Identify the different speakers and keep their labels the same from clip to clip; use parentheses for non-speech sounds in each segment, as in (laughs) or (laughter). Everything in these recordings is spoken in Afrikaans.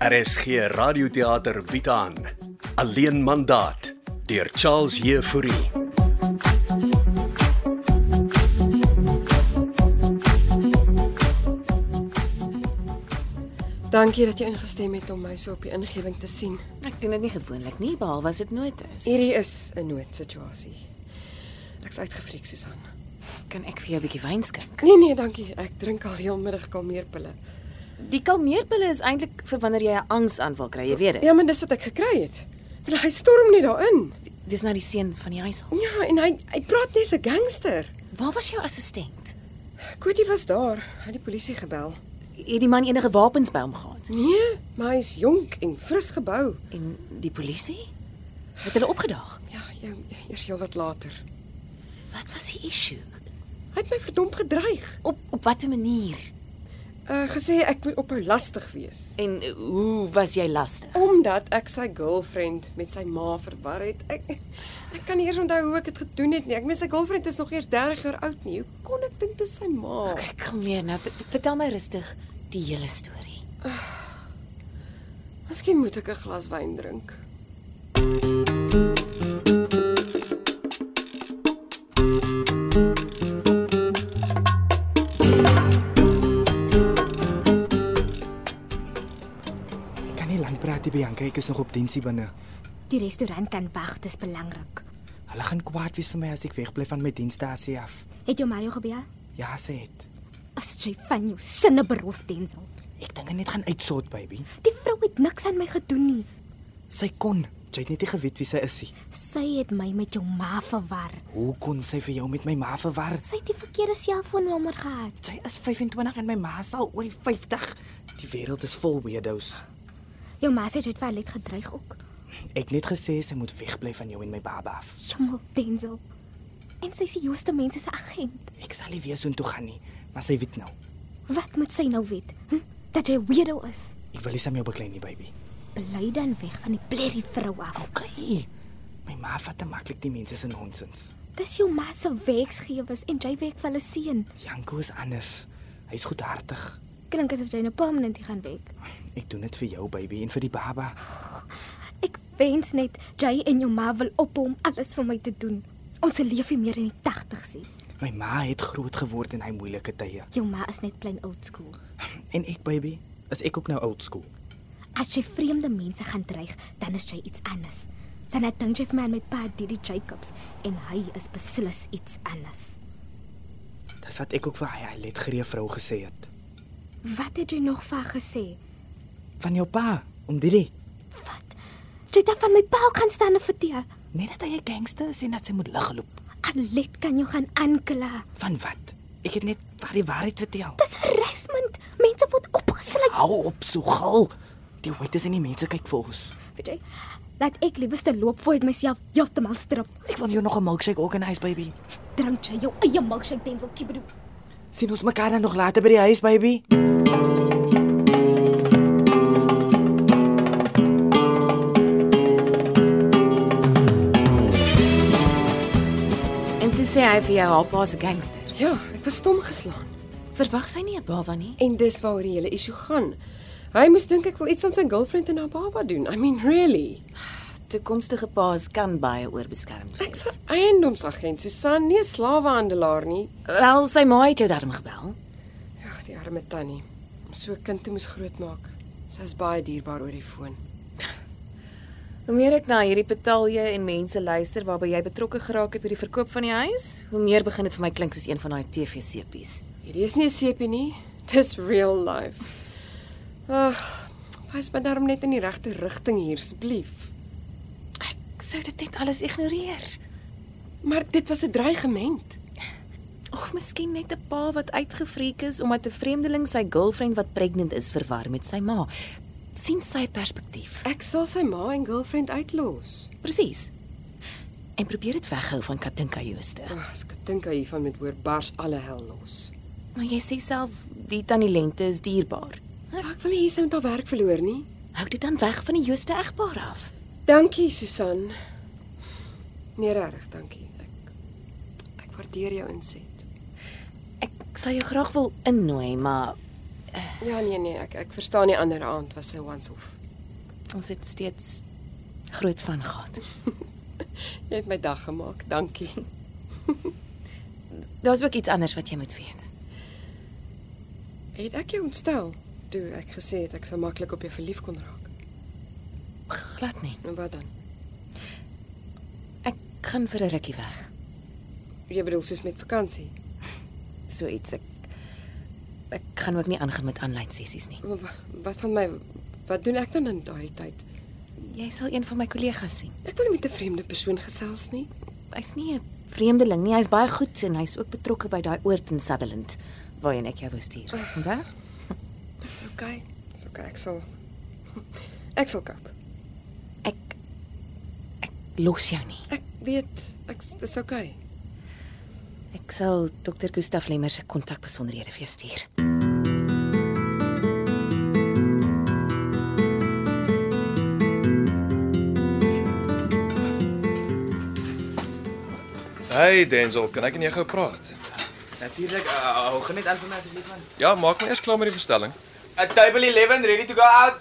Speaker 1: RSG Radioteater bied aan Alleen mandaat deur Charles Jefouri.
Speaker 2: Dankie dat jy ingestem het om my so op die ingewing te sien.
Speaker 3: Ek doen dit nie gewoonlik nie, behalwe as dit nooit is.
Speaker 2: Hierdie is 'n noodsituasie. Ek's uitgefriek, Susan.
Speaker 3: kan ek vir jou 'n bietjie wyn skink.
Speaker 2: Nee nee, dankie. Ek drink al heelmiddag kalmeerpille.
Speaker 3: Die kalmeerpille is eintlik vir wanneer jy 'n angsaanval kry, jy weet dit.
Speaker 2: Ja, maar dis wat ek gekry het. Maar hy storm net daarin.
Speaker 3: Dis nou die seun van die huis. al.
Speaker 2: Ja, en hy hy praat net so gangster.
Speaker 3: Waar was jou assistent?
Speaker 2: Koetie was daar. Hy het die polisie gebel.
Speaker 3: Het die man enige wapens by hom gehad?
Speaker 2: Nee, maar hy's jonk en fris gebou.
Speaker 3: En die polisie? Het hulle opgedaag?
Speaker 2: Ja, ja, eers heel wat later.
Speaker 3: Wat was die issue?
Speaker 2: Hy het my verdomp gedreig.
Speaker 3: Op op watter manier?
Speaker 2: Uh gesê ek moet ophou lastig wees.
Speaker 3: En hoe was jy lastig?
Speaker 2: Omdat ek sy girlfriend met sy ma verwar het. Ek ek kan nie eers onthou hoe ek dit gedoen het nie. Ek meen sy girlfriend is nog eers 30 jaar oud nie. Hoe kon ek dink dit is sy ma?
Speaker 3: Kyk, kalmeer nou. V- Vertel my rustig die hele storie.
Speaker 2: Miskien moet ek 'n glas wyn drink.
Speaker 4: Ek kan nie lank praat nie, Bianca, ek is nog op diensie binne.
Speaker 5: Die restaurant kan wag, dis belangrik.
Speaker 4: Hulle gaan kwaad wees vir my as ek wegbly van my dienstasie af.
Speaker 5: Het jou Mayo gebel?
Speaker 4: Ja, sê dit.
Speaker 5: As jy van jou sinne beroof Denzel.
Speaker 4: Ek dink hy net gaan uitsort, baby.
Speaker 5: Die vrou het niks aan my gedoen nie.
Speaker 4: Sy kon, jy het net nie geweet wie sy is nie.
Speaker 5: Sy het my met jou ma verwar.
Speaker 4: Hoe kon sy vir jou met my ma verwar?
Speaker 5: Sy het die verkeerde selfoonnommer gehad.
Speaker 4: Sy is 25 en my ma is al oor die 50. Die wêreld is vol weirdos.
Speaker 5: Jou ma sê jy het vir Alet gedreig ook.
Speaker 4: Ek het net gesê sy moet wegbly van jou en my baba af.
Speaker 5: Jammer, Denzel. En sy is die jongste mens se agent.
Speaker 4: Ek sal nie weer soontoe gaan nie, maar sy weet nou.
Speaker 5: Wat moet sy nou weet? Hm? Dat jy 'n weirdo is.
Speaker 4: Ek wil nie saam jou beklei nie, baby.
Speaker 5: Bly dan weg van die blerrie vrou af.
Speaker 4: Okay. My ma vat te maklik die mense se nonsens.
Speaker 5: Dis jou ma se werksgewers en jy werk vir hulle seun.
Speaker 4: Janko is anders. Hy's goedhartig.
Speaker 5: Klink asof jy nou permanent hier gaan werk.
Speaker 4: Ek doen dit vir jou baby en vir die baba.
Speaker 5: Ek wens net jy en jou ma wil ophou om alles vir my te doen. Ons leef nie meer in die 80's nie.
Speaker 4: My ma het groot geword in hy moeilike tye.
Speaker 5: Jou ma is net plain old school.
Speaker 4: En ek baby, is ek ook nou old school.
Speaker 5: As jy vreemde mense gaan dreig, dan is jy iets anders. Dan het dink jy vir my aan my pa Didi Jacobs en hy is beslis iets anders.
Speaker 4: Dis wat ek ook vir hy let greë vrou gesê het.
Speaker 5: Wat het jy nog van gesê?
Speaker 4: Van jou pa, om dit.
Speaker 5: Wat? Jy het van my pa ook gaan staan en vertel.
Speaker 4: Net dat hy 'n gangster is en dat sy moet lig loop.
Speaker 5: Alet kan jou gaan aankla.
Speaker 4: Van wat? Ek het net vir die waarheid vertel.
Speaker 5: Dis harassment. Mense word opgesluit.
Speaker 4: Hou op so gil. Die weet is en die mense kyk vir ons.
Speaker 5: Weet jy? Laat ek liewerste loop voor ek myself heeltemal strip.
Speaker 4: Ek wil jou nog 'n milkshake organise baby.
Speaker 5: Drink jy jou eie milkshake Denzel Kibedo?
Speaker 4: Sien ons mekaar dan nog later by die huis baby.
Speaker 3: En toe sê hy vir jou haar pa se gangster.
Speaker 2: Ja, ek was stom geslaan.
Speaker 3: Verwag sy nie 'n baba nie.
Speaker 2: En dis waaroor die hele issue gaan. Hy moes dink ek wil iets aan sy girlfriend en haar baba doen. I mean, really.
Speaker 3: Toekomstige paas kan baie oorbeskermd
Speaker 2: Ek's
Speaker 3: wees.
Speaker 2: 'n eiendomsagent, Susan, nie 'n slawehandelaar nie.
Speaker 3: Wel, sy ma het jou daarom gebel.
Speaker 2: Ag, die arme tannie. Om so 'n kind te moes grootmaak. Sy is baie dierbaar oor die foon.
Speaker 3: Hoe meer ek na hierdie betalje en mense luister waarby jy betrokke geraak het by die verkoop van die huis, hoe meer begin dit vir my klink soos een van daai TV-sepies.
Speaker 2: Hierdie is nie 'n seepie nie. (laughs) Dis real life. Ag, wys my daarom net in die regte rigting hier asseblief.
Speaker 3: Ek sou dit net alles ignoreer.
Speaker 2: Maar dit was 'n dreigement.
Speaker 3: Of miskien net 'n pa wat uitgevreek is omdat 'n vreemdeling sy girlfriend wat pregnant is verwar met sy ma. sien sy perspektief.
Speaker 2: Ek sal sy ma en girlfriend uitlos.
Speaker 3: Presies. En probeer dit weghou van Katinka Jooste.
Speaker 2: Ag, ek dink hy hiervan met hoor bars alle hel los.
Speaker 3: Maar jy sê self die tannie Lente is dierbaar.
Speaker 2: Ja, ek wil nie hierse met haar werk verloor nie.
Speaker 3: Hou dit dan weg van die Jooste egpaar af.
Speaker 2: Dankie, Susan. Nee, regtig, dankie. Ek ek waardeer jou inset.
Speaker 3: Ek sal jou graag wil innooi, maar eh,
Speaker 2: Ja nee nee, ek ek verstaan die ander aand was 'n once-off.
Speaker 3: Ons het steeds groot van gehad.
Speaker 2: Jy het my dag gemaak. Dankie.
Speaker 3: Daar's ook iets anders wat jy moet weet.
Speaker 2: Het ek jou ontstel toe ek gesê het ek sou maklik op jou verlief kon raak?
Speaker 3: Glad nie.
Speaker 2: En wat dan?
Speaker 3: Ek gaan vir 'n rukkie weg.
Speaker 2: Jy bedoel soos met vakansie.
Speaker 3: So iets ek ek gaan ook nie aangaan met aanlyn sessies nie.
Speaker 2: Wa- wa- Wat van my? Wat doen ek dan in daai tyd?
Speaker 3: Jy sal een van my kollegas sien.
Speaker 2: Ek wil nie met 'n vreemde persoon gesels nie.
Speaker 3: Hy's nie 'n vreemdeling nie. Hy's baie goed en hy's ook betrokke by daai oord in Sutherland waarheen ek jou wou stuur. Onthou?
Speaker 2: Dis oukei. Okay. Dis oukei. Okay. Ek sal (laughs) Ek sal kap.
Speaker 3: Ek ek los jou nie.
Speaker 2: Ek weet ek dis oukei. Okay.
Speaker 3: Ek sal Dr. Gustaf Lemmer se kontakbesonderhede vir jou stuur.
Speaker 6: Hey Denzel, kan ek en jy gou praat?
Speaker 7: Natuurlik,
Speaker 6: eh,
Speaker 7: uh, hou gaan net aan vir my asseblief man.
Speaker 6: Ja, maak my eers klaar met die bestelling.
Speaker 7: At table 11 ready to go out.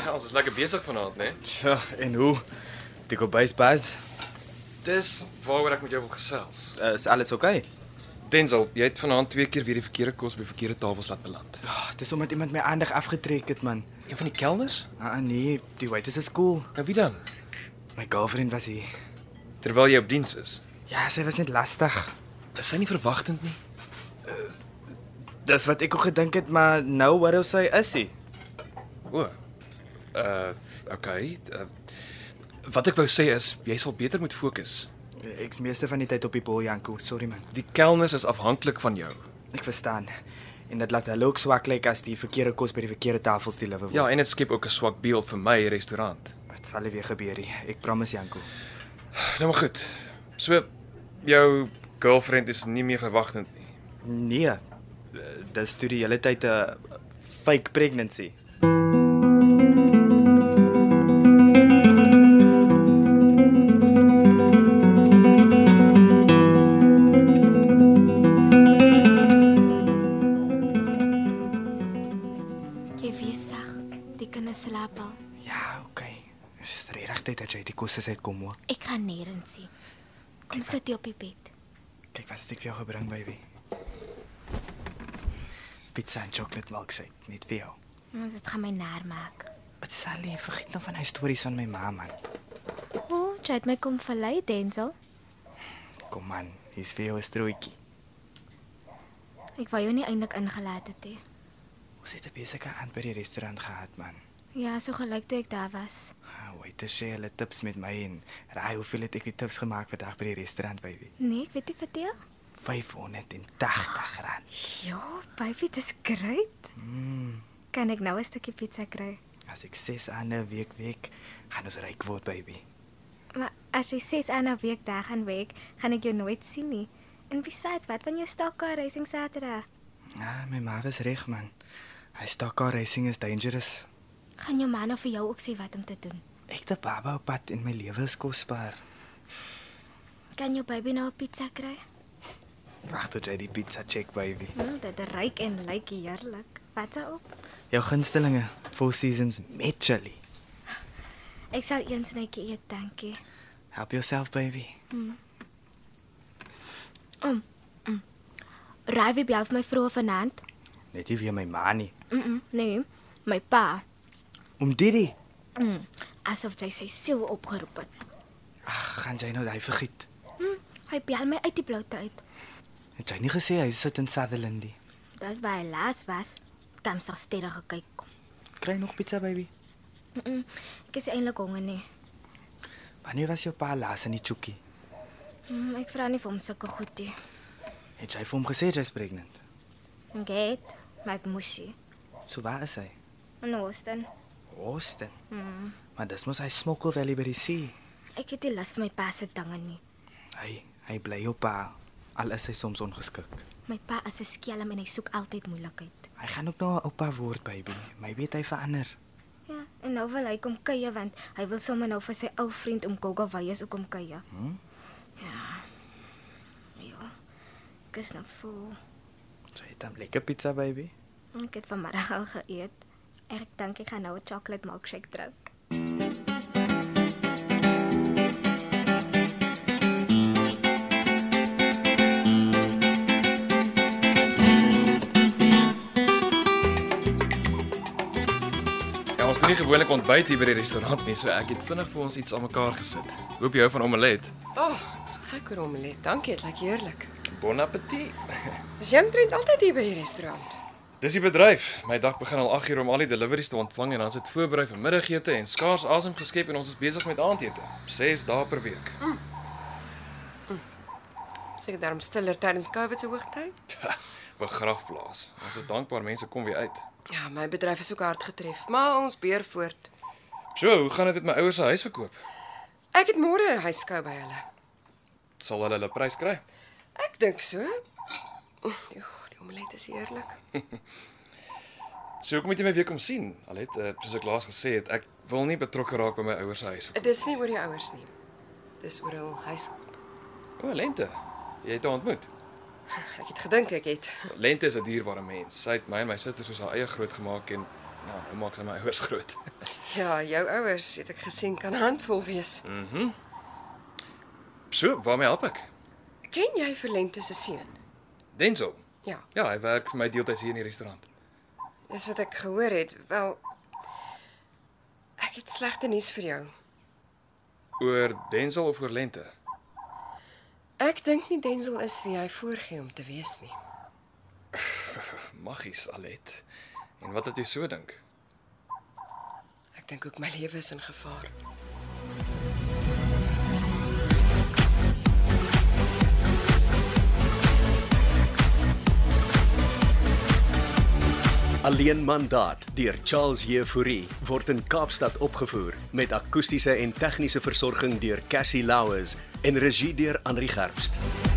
Speaker 6: Ja, ons is lekker besig vanaand, né? Nee?
Speaker 7: Ja, en hoe? Die kobais pas.
Speaker 6: Dis waaroor ek met jou wil gesels.
Speaker 7: Uh, is alles oukei? Okay?
Speaker 6: Denzel, jy het vanaand twee keer weer die verkeerde kos by verkeerde tafels laat beland.
Speaker 4: Oh, dis omdat iemand my aandag afgetrek het man.
Speaker 6: Een van die kelners?
Speaker 4: Ah ah, nee, die waiters is cool.
Speaker 6: Nou wie dan?
Speaker 4: My girlfriend was hier.
Speaker 6: Terwyl jy op diens is.
Speaker 4: Ja, sy was net lastig.
Speaker 6: Is hy nie verwagtend nie?
Speaker 4: Dis wat ek ook gedink het, maar nou hoor ons sy is hy.
Speaker 6: O. Uh, okay. Uh, wat ek wou sê is, jy sal beter moet fokus.
Speaker 4: Ek's meeste van die tyd op die bol Janko, sorry man.
Speaker 6: Die kelners is afhanklik van jou.
Speaker 4: Ek verstaan. En dit laat hulle ook swak lyk as die verkeerde kos by die verkeerde tafels deliver word.
Speaker 6: Ja, en dit skep ook 'n swak beeld vir my restaurant.
Speaker 4: dit sal nie weer gebeur nie. Ek promise Janko.
Speaker 6: Nou maar goed. So jou girlfriend is nie meer verwagtend nie.
Speaker 4: Nee. eh, Dis toe die hele tyd 'n fake pregnancy.
Speaker 5: Jy wees sag. Die kinders slaap al.
Speaker 4: Ja, okay. Dis regtig tyd dat jy die kos uit kom hoor.
Speaker 5: Ek gaan nêrens nie. Kom sit jy op die bed.
Speaker 4: Kyk wat het ek vir jou gebring, baby. Pizza en chocolate milkshake, net vir jou.
Speaker 5: Ons dit gaan my nar maak.
Speaker 4: Wat sal jy vergeet nou van hy stories van my ma man.
Speaker 5: O, jy het my kom verlei, Denzel.
Speaker 4: Kom man, hier's vir jou 'n strootjie.
Speaker 5: Ek wou jou nie eintlik ingelaat het nie.
Speaker 4: Ons het 'n besige aand by die restaurant gehad man.
Speaker 5: Ja, so gelyk toe ek daar was.
Speaker 4: Ah, Wait, dis jy hulle tips met my en raai hoeveel het ek die tips gemaak vandag by die restaurant baby?
Speaker 5: Nee, ek weet nie vertel.
Speaker 4: R580. rand.
Speaker 5: Ja, baby, dis great. Mm. Kan ek nou 'n stukkie pizza kry?
Speaker 4: As ek 6 ander week week gaan ons ryk word baby.
Speaker 5: Maar as jy 6 aan 'n week daar gaan werk, gaan ek jou nooit sien nie. En besides, wat van jou stakkar racing Saterdag?
Speaker 4: Ja, my ma was reg man. Hy stak haar racing is dangerous.
Speaker 5: Gaan jou man nou vir jou ook sê wat om te doen?
Speaker 4: Ek te baba op pad en my lewe is kosbaar.
Speaker 5: Kan jou baby nou 'n pizza kry?
Speaker 4: Wag tot jy die pizza check baby.
Speaker 5: Nou, dit ryk en lyk heerlik. Wat sal op?
Speaker 4: Jou gunstelinge Four Seasons met chili.
Speaker 5: Ek sal een snytjie eet, dankie.
Speaker 4: Help yourself baby.
Speaker 5: Raai bel vir my vroeg vanaand.
Speaker 4: Net nie weer my ma nie.
Speaker 5: Mm, -mm nee, my pa.
Speaker 4: Om Didi.
Speaker 5: Mm, asof hy sy siel opgeroep het.
Speaker 4: Ag, gaan jy nou daai vergiet.
Speaker 5: Mm, hy bel my uit die blou uit.
Speaker 4: Het jy nie gesê hy sit in Sutherland nie?
Speaker 5: Dis waar hy laas was. Kamsdag sterre gekyk.
Speaker 4: Kry nog pizza baby.
Speaker 5: Mm -mm, ek is eintlik honger nie.
Speaker 4: Wanneer was jou pa laas in die Chuki?
Speaker 5: Mm, ek vra nie vir hom sulke goed nie.
Speaker 4: Het jy vir hom gesê jy's pregnant?
Speaker 5: Ek het, maar ek moes nie.
Speaker 4: So waar is hy?
Speaker 5: In Austin.
Speaker 4: Austin. Mm. Maar dis mos hy smokkel wel by die see.
Speaker 5: Ek het nie las vir my pa se dinge nie.
Speaker 4: Hy hy bly jou pa al is hy soms ongeskik.
Speaker 5: My pa is 'n skelm en hy soek altyd moeilikheid.
Speaker 4: Hy gaan ook nou 'n oupa word baby. Maybe het hy verander.
Speaker 5: Ja, en nou wil hy kom kuier want hy wil sommer nou vir sy ou vriend om Gogo Weyers ook kom kuier. Hm? Ja. Ja. Ek is nou vol.
Speaker 4: So hy het dan lekker pizza baby.
Speaker 5: Ek het vanmiddag al geëet. Ek dink ek gaan nou 'n chocolate milkshake drink.
Speaker 6: Ja, ons doen nie gewoonlik ontbyt hier by die restaurant nie, so ek het vinnig vir ons iets aan mekaar gesit. Hoop jy hou van omelet.
Speaker 2: O, oh, dis gek oor omelet. Dankie, dit lyk heerlik.
Speaker 6: Bon appétit.
Speaker 2: Is jy omtrent altyd hier by die restaurant?
Speaker 6: Dis die bedryf. My dag begin al 8uur om al die deliveries te ontvang en dan sit voorberei vir middagete en skaars asem geskep en ons is besig met aandete. 6 dae per week.
Speaker 2: Seker daarom stiller tydens COVID se hoogtyd.
Speaker 6: Begrafplaas. Ons is dankbaar mense kom weer uit.
Speaker 2: Ja, my bedryf is ook hard getref, maar ons beer voort.
Speaker 6: So, hoe gaan dit met my ouers se huis verkoop?
Speaker 2: Ek het môre 'n huiskou by hulle.
Speaker 6: Sal hulle hulle prys kry?
Speaker 2: Ek dink so. Oeg, die omelet is heerlik.
Speaker 6: So hoekom moet jy my weer kom sien? Al het uh, soos ek laas gesê het, ek wil nie betrokke raak by my ouers se huis. verkoop.
Speaker 2: Dit is nie oor die ouers nie. Dis oor hul huis.
Speaker 6: O, Lente. Jy het haar ontmoet.
Speaker 2: Ek het gedink ek het.
Speaker 6: Lente is 'n dierbare mens. Sy het my en my susters soos haar eie groot gemaak en nou, nou maak sy my ouers (laughs) groot.
Speaker 2: Ja, jou ouers het ek gesien kan handvol wees.
Speaker 6: So, waarmee help ek?
Speaker 2: Ken jy Verlente se seun?
Speaker 6: Denzel.
Speaker 2: Ja,
Speaker 6: Ja, hy werk vir my deeltyds hier in die restaurant.
Speaker 2: dis wat ek gehoor het. Wel Ek het slegte nuus vir jou.
Speaker 6: Oor Denzel of oor Lente?
Speaker 2: Ek dink nie Denzel is wie hy voorgee om te wees nie.
Speaker 6: Maggies Alet. En wat het jy so dink?
Speaker 2: Ek dink ook my lewe is in gevaar.
Speaker 1: Alleen mandaat deur Charles Jefouri word in Kaapstad opgevoer met akoestiese en tegniese versorging deur Cassie Louws en regie deur Henri Gerst.